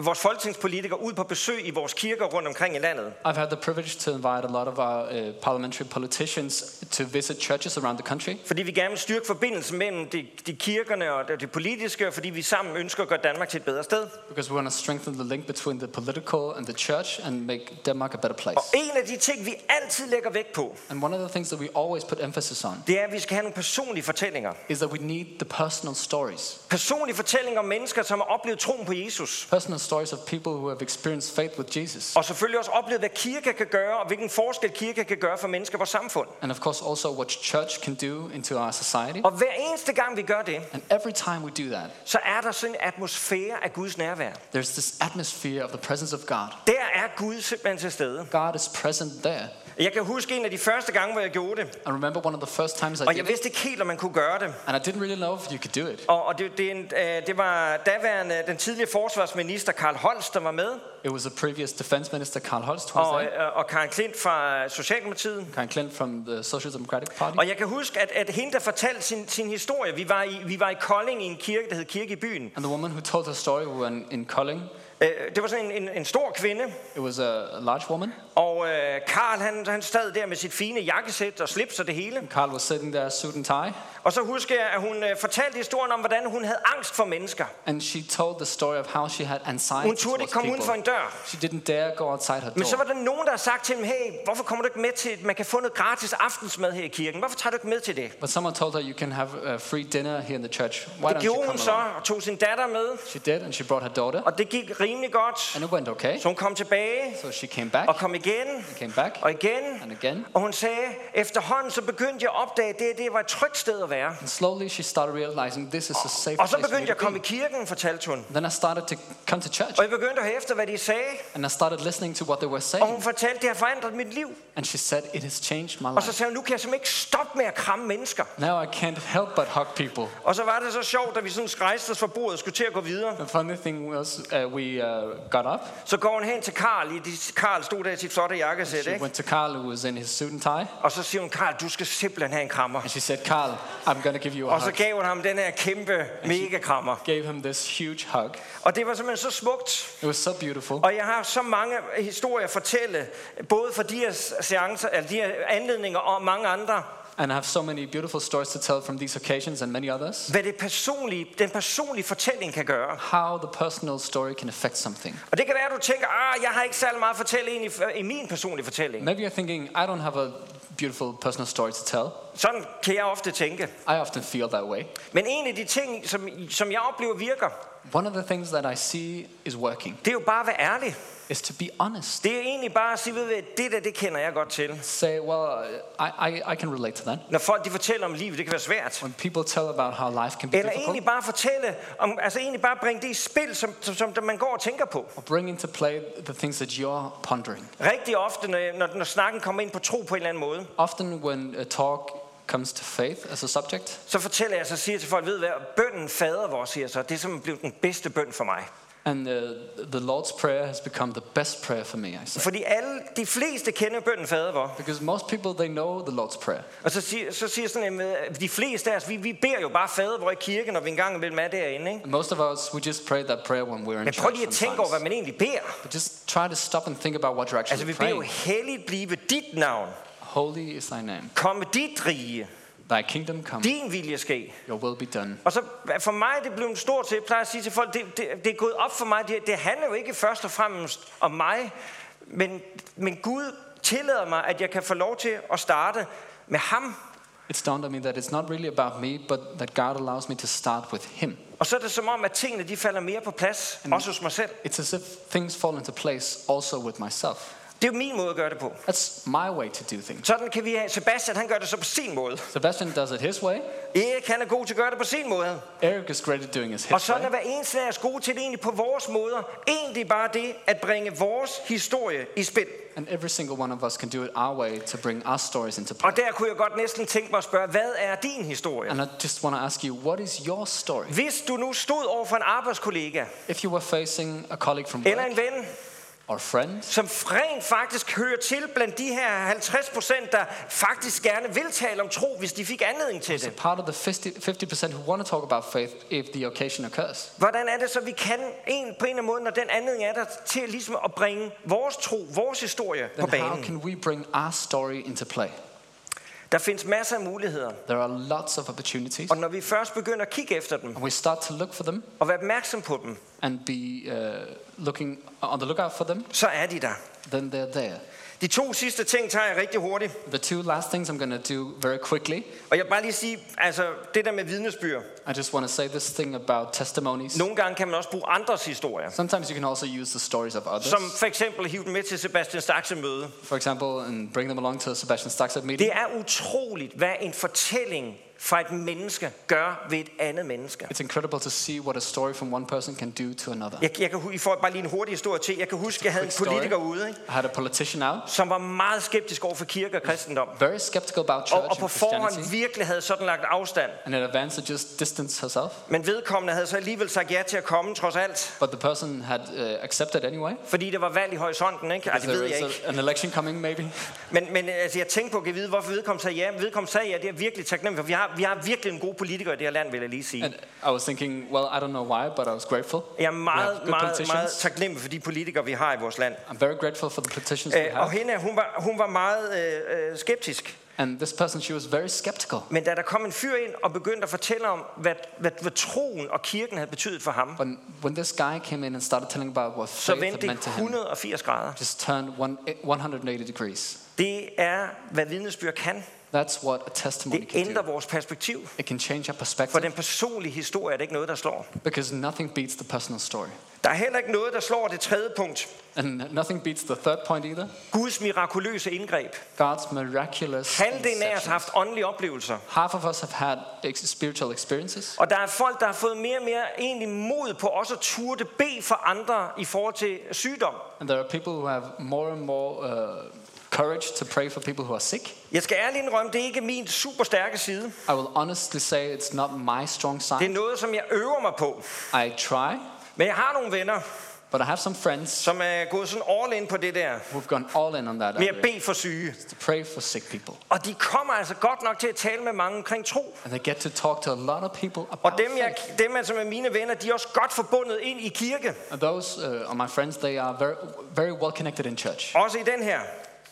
S1: vores folketingspolitikere, ud på besøg i vores kirker rundt omkring i landet.
S2: I've had the privilege to invite a lot of our uh, parliamentary politicians to visit churches around the country
S1: Fordi vi gerne vil styrke forbindelsen mellem de, de kirkerne og det- det politiske, og fordi vi sammen ønsker at gøre Danmark til et bedre sted.
S2: because we want to strengthen the link between the political and the church and make Denmark a better
S1: Og
S2: place.
S1: en af de ting, vi altid lægger vægt på,
S2: And one of the things that we always put emphasis on
S1: det er, at vi skal have nogle personlige fortællinger.
S2: is that we need the personal stories.
S1: Personlige fortællinger om mennesker, som har oplevet troen på Jesus.
S2: Personal stories of people who have experienced faith with Jesus.
S1: Og selvfølgelig også oplevet, hvad kirker kan gøre, og hvilken forskel kirker kan gøre for mennesker i vores samfund.
S2: And of course, also what church can do into our society.
S1: Og hver eneste gang, vi gør det,
S2: And every time we do that,
S1: så er der sådan en atmosfære af Guds nærvær.
S2: there's this atmosphere of the presence of God.
S1: Der er Gud simpelthen til stede.
S2: God is present there.
S1: Jeg kan huske en af de første gange, hvor jeg gjorde det.
S2: I remember one of the first times I
S1: Og jeg
S2: did it,
S1: vidste ikke helt, om man kunne gøre det.
S2: and I didn't really know if you could do it.
S1: Og, og det, det, er en, øh, det var daværende, den tidligere forsvarsminister Karl Holst, der var med,
S2: It was the previous defense minister, Karl Holst, who was
S1: og,
S2: there,
S1: øh, og Karen Klint fra Socialdemokratiet.
S2: Karen Klint from the Social Democratic Party.
S1: Og jeg kan huske, at, at hende, der fortalte sin, sin historie, vi var, i, vi var i Kolding i en kirke, der hed Kirke i Byen.
S2: And the woman who told her story we were in, in Kolding,
S1: Øh, det var sådan en, en, en stor kvinde,
S2: it was a, a large woman.
S1: og øh, Karl han, han sad der med sit fine jakkesæt og slips og det hele.
S2: Karl was sitting there, suit and tie,
S1: Og så husker jeg, at hun øh, fortalte historien om, hvordan hun havde angst for mennesker.
S2: and she told the story of how she had anxiety
S1: Hun turde
S2: towards
S1: ikke komme uden for
S2: people.
S1: en dør.
S2: She didn't dare go outside her
S1: Men så var
S2: door.
S1: der nogen, der har sagt til dem, hey, hvorfor kommer du ikke med til, at man kan få noget gratis aftensmad her i kirken? Hvorfor tager du ikke med til det?
S2: But someone told her, you can have a free dinner here in the church. Why
S1: Det
S2: don't you
S1: gjorde
S2: come
S1: hun så,
S2: along?
S1: og tog sin datter med,
S2: She did, and she brought her daughter,
S1: og det gik rimelig godt.
S2: and it went okay.
S1: Så hun kom tilbage,
S2: So she came back,
S1: og kom igen,
S2: came back,
S1: og igen.
S2: and again.
S1: Og hun sagde, efterhånden så begyndte jeg at opdage, at det, her, det var et trygt sted at være.
S2: And slowly she started realizing this is a safe
S1: Og
S2: place
S1: så
S2: for
S1: begyndte
S2: me
S1: jeg at
S2: to
S1: komme
S2: be.
S1: i kirken, fortalte hun.
S2: Then I started to come to church,
S1: Og jeg begyndte at høre efter, hvad de sagde,
S2: and I started listening to what they were
S1: og
S2: saying.
S1: hun fortalte, det har forandret mit liv.
S2: And she said, It has changed my
S1: Og så
S2: life.
S1: sagde hun, nu kan jeg simpelthen ikke stoppe med at kramme mennesker.
S2: Now I can't help but hug people.
S1: Og så var det så sjovt, da vi sådan rejste os fra bordet og skulle til at gå videre.
S2: The funny thing was, uh, we uh, got up.
S1: Så går hun hen til Karl, i de, Karl stod der i sit flotte jakkesæt,
S2: She
S1: ikke?
S2: went to Carl, who was in his suit and tie,
S1: Og så siger hun, Karl, du skal simpelthen have en krammer.
S2: and she said, Carl, I'm going to give you a
S1: Og så
S2: hug.
S1: gav hun ham den her kæmpe mega krammer.
S2: Gave him this huge hug.
S1: Og det var simpelthen så smukt.
S2: It was so beautiful.
S1: Og jeg har så mange historier at fortælle, både fra de her seancer, eller de her anledninger og mange andre,
S2: And I have so many beautiful stories to tell from these occasions and many others.
S1: hvad det personlige, den personlige fortælling kan gøre.
S2: How the personal story can affect something.
S1: Og det kan være, at du tænker, ah, jeg har ikke særlig meget at fortælle ind i, i min personlige fortælling.
S2: Maybe you're thinking, I don't have a beautiful personal story to tell.
S1: Sådan kan jeg ofte tænke.
S2: I often feel that way.
S1: Men en af de ting, som, som jeg oplever virker,
S2: One of the things that I see is working,
S1: det er jo bare at være ærlig.
S2: is to be honest.
S1: Det er egentlig bare at sige, ved du hvad, det der, det kender jeg godt til.
S2: Say, well, I, I, I can relate to that.
S1: Når folk de fortæller om livet, det kan være svært.
S2: When people tell about how life can be
S1: Eller
S2: difficult,
S1: egentlig bare fortælle om, altså egentlig bare bringe det i spil, som, som, som man går og tænker på.
S2: or bring into play the things that you're pondering.
S1: Rigtig ofte, når, jeg- når, når snakken kommer ind på tro på en eller anden måde,
S2: Often, when a talk comes to faith as a subject,
S1: så fortæller jeg, så siger jeg til folk, ved du hvad, bønden fader vores, siger jeg så, det er simpelthen blevet den bedste bøn for mig.
S2: and uh, the Lord's Prayer has become the best prayer for me, I say.
S1: Fordi alle, de fleste kender bønden fader vor.
S2: Because most people, they know the Lord's Prayer.
S1: Og så siger, så siger jeg sådan, en, øh, de fleste af os, vi, vi beder jo bare fader vor i kirken, når vi engang imellem er derinde. Ikke?
S2: And most of us, we just pray that prayer when we're in
S1: Men prøv lige
S2: church
S1: at tænke over, hvad
S2: sometimes.
S1: man egentlig beder.
S2: But just try to stop and think about what you're
S1: Altså,
S2: actually
S1: vi beder jo
S2: praying.
S1: helligt blive dit navn.
S2: Holy is thy name.
S1: Komme dit rige.
S2: Thy kingdom come,
S1: Din vilje ske.
S2: your will be done.
S1: Og så for mig, det blev en stor til, jeg plejer at sige til folk, det, det, det er gået op for mig, det, det handler jo ikke først og fremmest om mig, men, men Gud tillader mig, at jeg kan få lov til at starte med ham.
S2: It's dawned on me that it's not really about me, but that God allows me to start with Him.
S1: Og så er det som om, at tingene de falder mere på plads, også hos mig selv.
S2: It's as if things fall into place also with myself.
S1: Det er jo min måde at gøre det på.
S2: That's my way to do things.
S1: Sådan kan vi have. Sebastian, han gør det så på sin måde.
S2: Sebastian does it his way.
S1: Erik, han er god til at gøre det på sin måde.
S2: Eric is great at doing it
S1: Og
S2: his
S1: sådan er
S2: way.
S1: hver eneste af os gode til det egentlig på vores måder. Egentlig bare det at bringe vores historie i spil.
S2: And every single one of us can do it our way to bring our stories into play.
S1: Og der kunne jeg godt næsten tænke mig at spørge, hvad er din historie?
S2: And I just want to ask you, what is your story?
S1: Hvis du nu stod over for en arbejdskollega
S2: If you were facing a colleague from
S1: eller
S2: work
S1: en ven,
S2: or friend
S1: som rent faktisk hører til blandt de her 50 procent, der faktisk gerne vil tale om tro, hvis de fik anledning til det.
S2: part of the 50, 50% who want to talk about faith if the occasion occurs.
S1: Hvordan er det så, vi kan en, på en eller anden måde, når den anledning er der, til ligesom at bringe vores tro, vores historie på
S2: Then how
S1: banen?
S2: can we bring our story into play?
S1: Der findes masser af muligheder,
S2: There are lots of opportunities,
S1: og når vi først begynder at kigge efter dem
S2: and we start to look for them
S1: og være opmærksom på dem,
S2: and be uh, looking on the lookout for them.
S1: så er de der.
S2: Then they're there.
S1: De to sidste ting tager jeg rigtig hurtigt,
S2: The two last things I'm going to do very quickly.
S1: og jeg vil bare lige sige, altså det der med vidnesbyrd,
S2: I just want to say this thing about testimonies.
S1: nogle gange kan man også bruge andres historier.
S2: Sometimes you can also use the stories of others,
S1: Som for eksempel hive dem med til Sebastian Staxe møde.
S2: for example, and bring them along to a Sebastian Staxet meeting.
S1: Det er utroligt, hvad en fortælling fra et menneske gør ved et andet menneske.
S2: It's incredible to see what a story from one person can do to another.
S1: Jeg, jeg kan, hu- I får bare lige en hurtig historie til. Jeg kan huske, jeg havde en
S2: Quick story.
S1: politiker ude, ikke?
S2: I had a politician out,
S1: som var meget skeptisk over for kirke og kristendom.
S2: very skeptical about church
S1: Og, og
S2: and
S1: på forhånd
S2: Christianity,
S1: virkelig havde sådan lagt afstand.
S2: and in advance had just distanced herself.
S1: Men vedkommende havde så alligevel sagt ja til at komme, trods alt.
S2: But the person had uh, accepted anyway.
S1: Fordi der var valg i horisonten, ikke? Ej, det
S2: there
S1: ved jeg
S2: is
S1: ikke.
S2: a, an election coming, maybe.
S1: Men, men altså, jeg tænkte på, at vide, hvorfor vedkommende sagde ja. Vedkommende sagde ja, det er jeg virkelig taknemmelig for. Vi har, vi har virkelig en god politiker i det her land, vil jeg lige sige.
S2: And I was thinking, well, I don't know why, but I was grateful.
S1: Jeg er meget,
S2: good
S1: meget,
S2: politicians.
S1: meget taknemmelig for de politikere, vi har i vores land.
S2: I'm very grateful for the petitions we
S1: Øh, og
S2: have.
S1: hende, hun var, hun var meget øh, øh, skeptisk.
S2: And this person, she was very skeptical.
S1: Men da der kom en fyr ind og begyndte at fortælle om, hvad, hvad, hvad troen og kirken havde betydet for ham,
S2: When, when this guy came in and started telling about what
S1: så
S2: faith had
S1: vendte det
S2: meant to him,
S1: 180 grader.
S2: just turned one, 180 degrees.
S1: Det er, hvad vidnesbyrd kan.
S2: That's what a testimony
S1: Det
S2: can
S1: ændrer
S2: do.
S1: vores perspektiv.
S2: It can change our
S1: For
S2: perspective
S1: den personlige historie er det ikke noget, der slår.
S2: because nothing beats the personal story.
S1: Der er heller ikke noget, der slår det tredje punkt.
S2: And nothing beats the third point either
S1: Guds mirakuløse indgreb.
S2: God's miraculous.
S1: Halvdelen af os har
S2: interception.
S1: haft åndelige oplevelser.
S2: Half of us have had ex- spiritual experiences.
S1: Og der er folk, der har fået mere og mere egentlig mod på også at turde bede for andre i forhold til sygdom.
S2: And there are people who have more and more uh, courage to pray for people who are sick.
S1: Jeg skal ærligt indrømme, det er ikke min super stærke side.
S2: I will honestly say it's not my strong
S1: Det er
S2: side.
S1: noget, som jeg øver mig på.
S2: I try,
S1: Men jeg har nogle venner,
S2: but I have some friends
S1: som er gået sådan all in på det der
S2: who've gone all in on that
S1: med at
S2: area,
S1: bede for syge.
S2: to pray for sick people.
S1: Og de kommer altså godt nok til at tale med mange omkring tro.
S2: And they get to talk to a lot of people
S1: Og
S2: about
S1: dem, jeg,
S2: faith.
S1: dem er, som er mine venner, de er også godt forbundet ind i kirke.
S2: And those uh, are my friends, they are very, very well connected in church,
S1: Også i den her.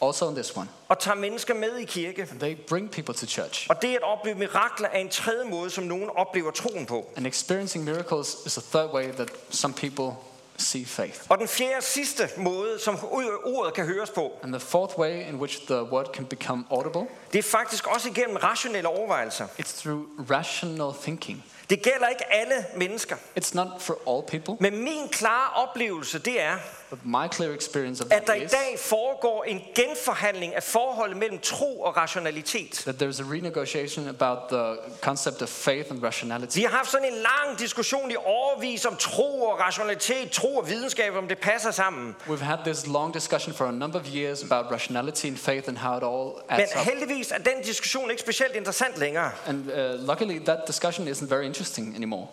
S2: also in this one.
S1: Og tager mennesker med i kirke.
S2: They bring people to church.
S1: Og det at opleve mirakler er en tredje måde, som nogen oplever troen på.
S2: And experiencing miracles is a third way that some people see faith.
S1: Og den fjerde og sidste måde, som u- ordet kan høres på,
S2: And the fourth way in which the word can become audible,
S1: det er faktisk også igennem rationelle overvejelser.
S2: it's through rational thinking.
S1: Det gælder ikke alle mennesker.
S2: It's not for all people,
S1: Men min klare oplevelse, det er,
S2: but my clear experience of
S1: at
S2: that
S1: der i
S2: is
S1: dag foregår en genforhandling af forholdet mellem tro og rationalitet.
S2: that there's a renegotiation about the concept of faith and rationality.
S1: Vi har haft sådan en lang diskussion i årvis om tro og rationalitet, tro og videnskab, om det passer sammen.
S2: We've had this long discussion for a number of years about rationality and faith and how it all
S1: Men
S2: adds up.
S1: heldigvis er den diskussion ikke specielt interessant længere.
S2: And uh, luckily, that discussion isn't very interesting anymore.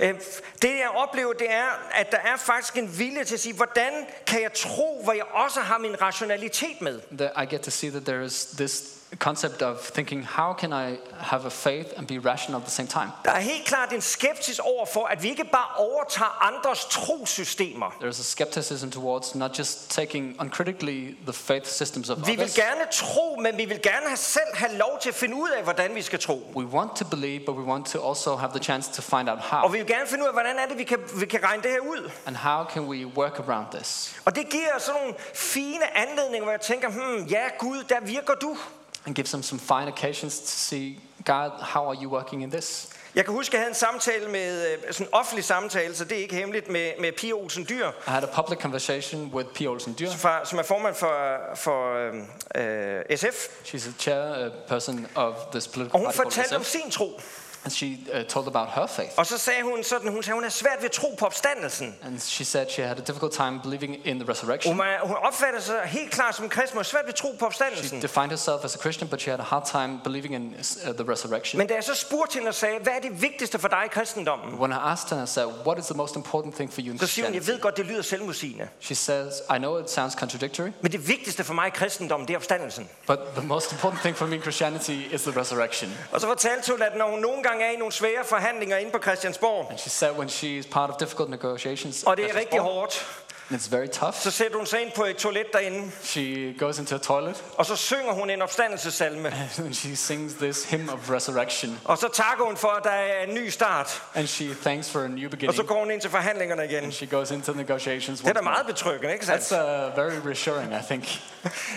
S1: Øh, Det jeg oplever, det er, at der er faktisk en vilje til at sige, hvordan kan jeg tro, hvor jeg også har min rationalitet med?
S2: The, I get to see that there is this concept of thinking, how can I have a faith and be rational at the same time?
S1: Der er helt klart en skepsis over for, at vi ikke bare overtager andres trosystemer.
S2: There's a skepticism towards not just taking uncritically the faith systems of
S1: Vi vil
S2: others.
S1: gerne tro, men vi vil gerne have- selv have lov til at finde ud af, hvordan vi skal tro.
S2: We want to believe, but we want to also have the chance to find out
S1: Og
S2: how.
S1: vi vil gerne finde ud af, hvordan er det, vi kan, vi kan regne det her ud.
S2: And how can we work around this?
S1: Og det giver os sådan nogle fine anledninger, hvor jeg tænker, hmm, ja Gud, der virker du.
S2: And gives them some fine occasions to see, God, how are you working in this?
S1: Jeg kan huske, at jeg havde en samtale med, øh, sådan en offentlig samtale, så det er ikke hemmeligt, med, med Pia Olsen Dyr,
S2: I had a public conversation with Pia Olsen Dyr.
S1: fra, som er formand for, for øh, øh, SF.
S2: She's a chair uh, person of this
S1: Og
S2: political
S1: hun
S2: party called
S1: fortalte om
S2: SF,
S1: sin tro.
S2: and she uh, told about her faith.
S1: Og så sagde hun sådan, hun sagde, hun er svært ved at tro på opstandelsen.
S2: And she said she had a difficult time believing in the resurrection.
S1: Hun, er, hun opfatter sig helt klart som kristen, og er svært ved at tro på
S2: She
S1: opstandelsen.
S2: defined herself as a Christian, but she had a hard time believing in uh, the resurrection.
S1: Men da jeg så spurgte hende og sagde, hvad er det vigtigste for dig i kristendommen?
S2: When I asked her, I said, What is the most important thing for you in
S1: Så siger hun,
S2: Christianity?
S1: jeg ved godt, det lyder selvmodsigende.
S2: She says, I know it sounds contradictory,
S1: Men det vigtigste for mig i kristendommen, det er opstandelsen.
S2: but the most important thing for me in Christianity is the resurrection.
S1: Og så fortalte hun, at når hun nogle gange er i nogle svære forhandlinger inde på Christiansborg,
S2: And she said, when she is part of difficult negotiations,
S1: og det er
S2: and
S1: rigtig hårdt,
S2: it's very
S1: så
S2: tough,
S1: sætter hun sig ind på et toilet derinde,
S2: she goes into a toilet
S1: og så synger hun en opstandelsesalme.
S2: and she sings this hymn of resurrection.
S1: Og så takker hun for, at der er en ny start,
S2: And she thanks for a new
S1: og
S2: beginning.
S1: så går hun ind til forhandlingerne igen.
S2: She goes into negotiations.
S1: Det er da
S2: once more.
S1: meget betryggende, ikke
S2: That's
S1: sandt?
S2: uh, very reassuring, I think.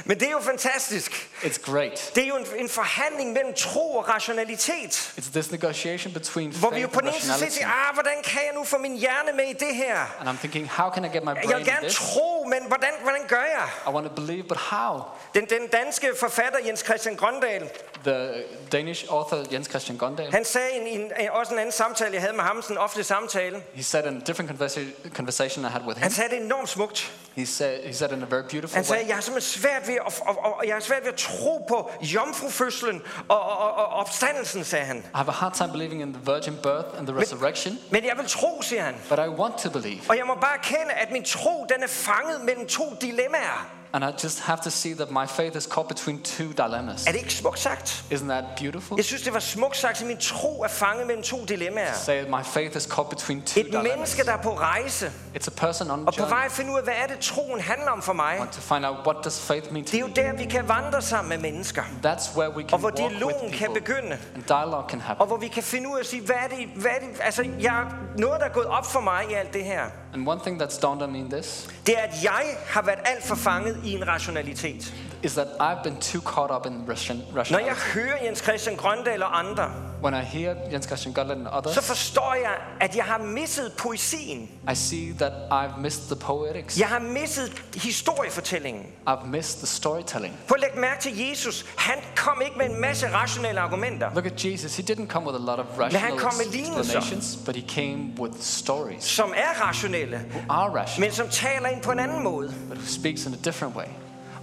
S1: Men det er jo fantastisk.
S2: It's great.
S1: Det er jo en, en forhandling mellem tro og rationalitet.
S2: It's this negotiation between
S1: Hvor vi jo
S2: faith
S1: på
S2: and
S1: den ene side siger,
S2: rationality.
S1: til, ah, hvordan kan jeg nu få min hjerne med i det her?
S2: And I'm thinking, how can I get my
S1: Jeg
S2: brain
S1: vil
S2: in
S1: gerne
S2: this?
S1: tro, men hvordan, hvordan gør jeg?
S2: I want to believe, but how?
S1: Den, den danske forfatter Jens Christian Grøndal,
S2: The Danish author Jens Christian Gondel,
S1: han sagde i en, i en, også en anden samtale, jeg havde med ham, sådan en offentlig samtale.
S2: he said in a different conversa- conversation I had with
S1: Han
S2: him,
S1: sagde det enormt smukt.
S2: he said, he said in a very beautiful
S1: Han sagde,
S2: way,
S1: jeg har simpelthen svært ved at, og, og, og jeg har svært ved at tro på jomfrufødslen og, og, og, og opstandelsen, sagde han.
S2: I have a hard time believing in the virgin birth and the resurrection,
S1: Men jeg vil tro, siger han.
S2: but I want to believe.
S1: Og jeg må bare erkende, at min tro, den er fanget mellem to dilemmaer.
S2: And I just have to see that my faith is caught between two dilemmas.
S1: Er det ikke smukt sagt?
S2: Isn't that beautiful?
S1: Jeg synes, det var smukt sagt, at min tro er fanget mellem to dilemmaer.
S2: Say my faith is caught between two
S1: Et
S2: dilemmas.
S1: menneske, der er på rejse,
S2: It's a person on
S1: og på
S2: journey.
S1: vej at finde ud af, hvad er det, troen handler om for mig.
S2: Want to find out what does faith mean
S1: Det
S2: to
S1: er
S2: you.
S1: jo der, vi kan vandre sammen med mennesker.
S2: That's where we
S1: Og
S2: can
S1: hvor
S2: walk
S1: dialogen
S2: with
S1: kan
S2: people.
S1: begynde.
S2: And dialogue can happen.
S1: Og hvor vi kan finde ud af at sige, hvad er det, hvad er det altså jeg, noget, der er gået op for mig i alt det her.
S2: And one thing that's dawned on me in this
S1: Det er, at jeg har været alt for fanget i en rationalitet.
S2: is that I've been too caught up in Russian, Russian
S1: Når jeg hører Jens Christian Grøndal og andre,
S2: When I hear Jens Christian Gotland and others,
S1: så forstår jeg, at jeg har misset poesien.
S2: I see that I've missed the poetics.
S1: Jeg har misset historiefortællingen.
S2: I've missed the storytelling.
S1: Prøv at lægge mærke til Jesus. Han kom ikke med en masse rationelle argumenter.
S2: Look at Jesus. He didn't come with a lot of
S1: han
S2: rational
S1: kom med lignelser.
S2: explanations, but he came with stories.
S1: som er rationelle,
S2: Are rational,
S1: men som taler ind på en anden måde.
S2: but who speaks in a different way.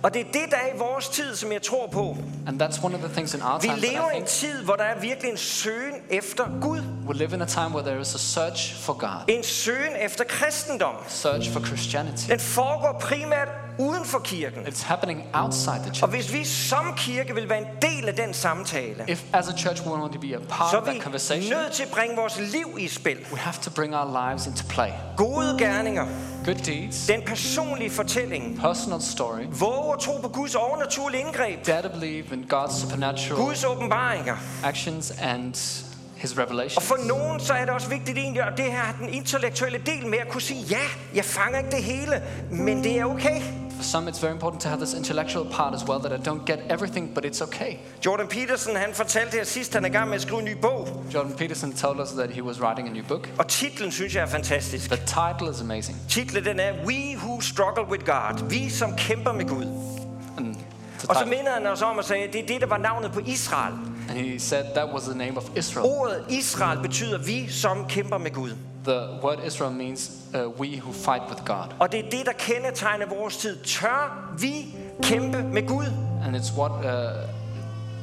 S1: Og det er det, der er i vores tid, som jeg tror på.
S2: And that's one of the things in our
S1: Vi
S2: time that
S1: lever
S2: I
S1: i en
S2: think
S1: tid, hvor der er virkelig en søgen efter Gud.
S2: we live in a time where there is a search for God,
S1: En søgen efter kristendom.
S2: search for Christianity.
S1: Den foregår primært uden for kirken.
S2: It's happening outside the
S1: Og
S2: church.
S1: hvis vi som kirke vil være en del af den samtale,
S2: If as a church we want to be a part
S1: så
S2: of
S1: er
S2: that
S1: vi
S2: conversation,
S1: nødt til at bringe vores liv i spil.
S2: we have to bring our lives into play.
S1: Gode gerninger,
S2: Good deeds,
S1: den personlige fortælling,
S2: personal story,
S1: våge at tro på Guds overnaturlige indgreb,
S2: dare to believe in God's supernatural
S1: Guds åbenbaringer.
S2: actions and his
S1: Og
S2: revelation.
S1: for nogen, så er det også vigtigt egentlig, og det her er den intellektuelle del med at kunne sige, ja, jeg fanger ikke det hele, men det er okay.
S2: For some, it's very important to have this intellectual part as well that I don't get everything, but it's okay.
S1: Jordan Peterson, han fortalte her sidst, han er i gang med at skrive en ny bog,
S2: Jordan Peterson told us that he was writing a new book.
S1: og titlen synes jeg er fantastisk.
S2: The title is amazing.
S1: Titlen den er We Who Struggle With God, vi som kæmper med Gud.
S2: And, it's a
S1: Og så
S2: title.
S1: minder han os om at sige, at det er det, der var navnet på Israel.
S2: and he said that was the name of Israel.
S1: Ordet Israel betyder vi som kæmper med Gud.
S2: The word Israel means uh, we who fight with God.
S1: Og det er det, der kendetegner vores tid. Tør vi kæmpe med Gud?
S2: And it's what uh,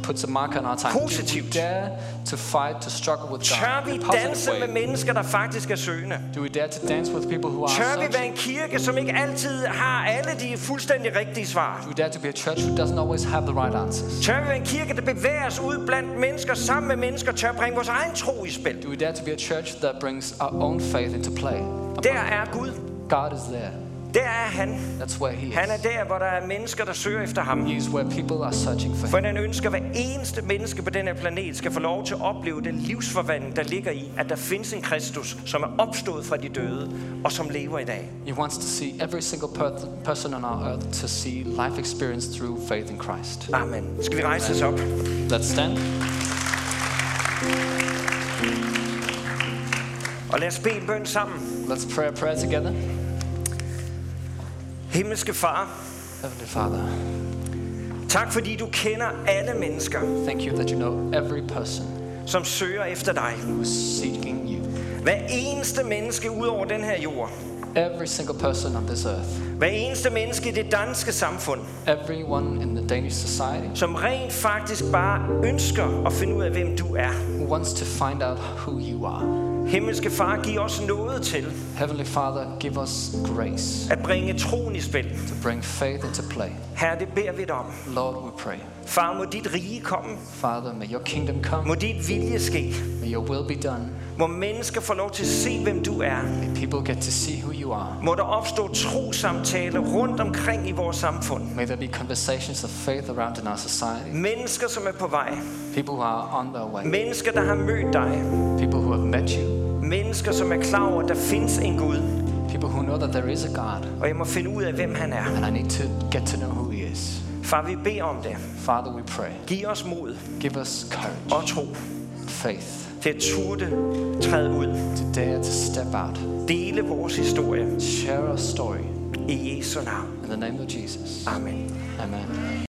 S2: puts a marker on our time. Do we
S1: Positivt.
S2: dare to fight to struggle with
S1: Tør
S2: God in a
S1: vi
S2: positive
S1: danse med
S2: way?
S1: mennesker, der faktisk er søgende?
S2: Do we dare to dance with people who are
S1: Tør vi
S2: such?
S1: være en kirke, som ikke altid har alle de fuldstændig rigtige svar?
S2: Do we dare to be a church who doesn't always have the right answers?
S1: Tør vi være en kirke, der bevæger os ud blandt mennesker, sammen med mennesker, tør bringe vores egen tro i spil?
S2: Do we dare to be a church that brings our own faith into play?
S1: Der er Gud.
S2: God is there.
S1: Der er han.
S2: That's where He
S1: Han er
S2: is.
S1: der, hvor der er mennesker, der søger efter ham.
S2: He is where people are searching for
S1: For
S2: Him.
S1: han ønsker, at hver eneste menneske på den her planet skal få lov til at opleve den livsforvandling, der ligger i, at der findes en Kristus, som er opstået fra de døde, og som lever i dag.
S2: He wants to see every single per- person on our earth to see life experience through faith in Christ.
S1: Amen. Skal vi rejse os op?
S2: Let's stand
S1: Og lad os bede en bøn sammen.
S2: Let's pray a prayer together.
S1: Himmelske Far,
S2: Heavenly Father,
S1: tak fordi du kender alle mennesker,
S2: thank you that you know every person
S1: som søger efter dig.
S2: who's seeking you.
S1: Hver eneste menneske ud over den her jord.
S2: Every single person on this earth.
S1: Hver eneste menneske i det danske samfund,
S2: Everyone in the Danish society
S1: som rent faktisk bare ønsker at finde ud af, hvem du er.
S2: who wants to find out who you are.
S1: Himmelske Far, giv os noget til
S2: Heavenly Father, give us grace
S1: at bringe troen i spil.
S2: to bring faith into play.
S1: Herre, det beder vi dig om.
S2: Lord, we pray.
S1: Far, må dit rige komme.
S2: Father, may your kingdom come.
S1: Må dit vilje ske.
S2: May your will be done.
S1: Må mennesker få lov til at se, hvem du er.
S2: May people get to see who you are.
S1: Må der opstå trosamtaler rundt omkring i vores samfund.
S2: May there be conversations of faith around in our society.
S1: Mennesker, som er på vej.
S2: People who are on their way.
S1: Mennesker, der har mødt dig.
S2: People who have met you.
S1: Mennesker, som er klar over, at der findes en Gud.
S2: People who know that there is a God.
S1: Og jeg må finde ud af, hvem han er.
S2: And I need to get to know who He is.
S1: Far, vi beder om det.
S2: Father, we pray.
S1: Giv os mod
S2: Give us courage,
S1: og tro
S2: faith,
S1: til at turde træde ud.
S2: to dare to step out,
S1: Dele vores historie.
S2: share our story.
S1: I Jesu navn.
S2: In the name of Jesus.
S1: Amen.
S2: Amen.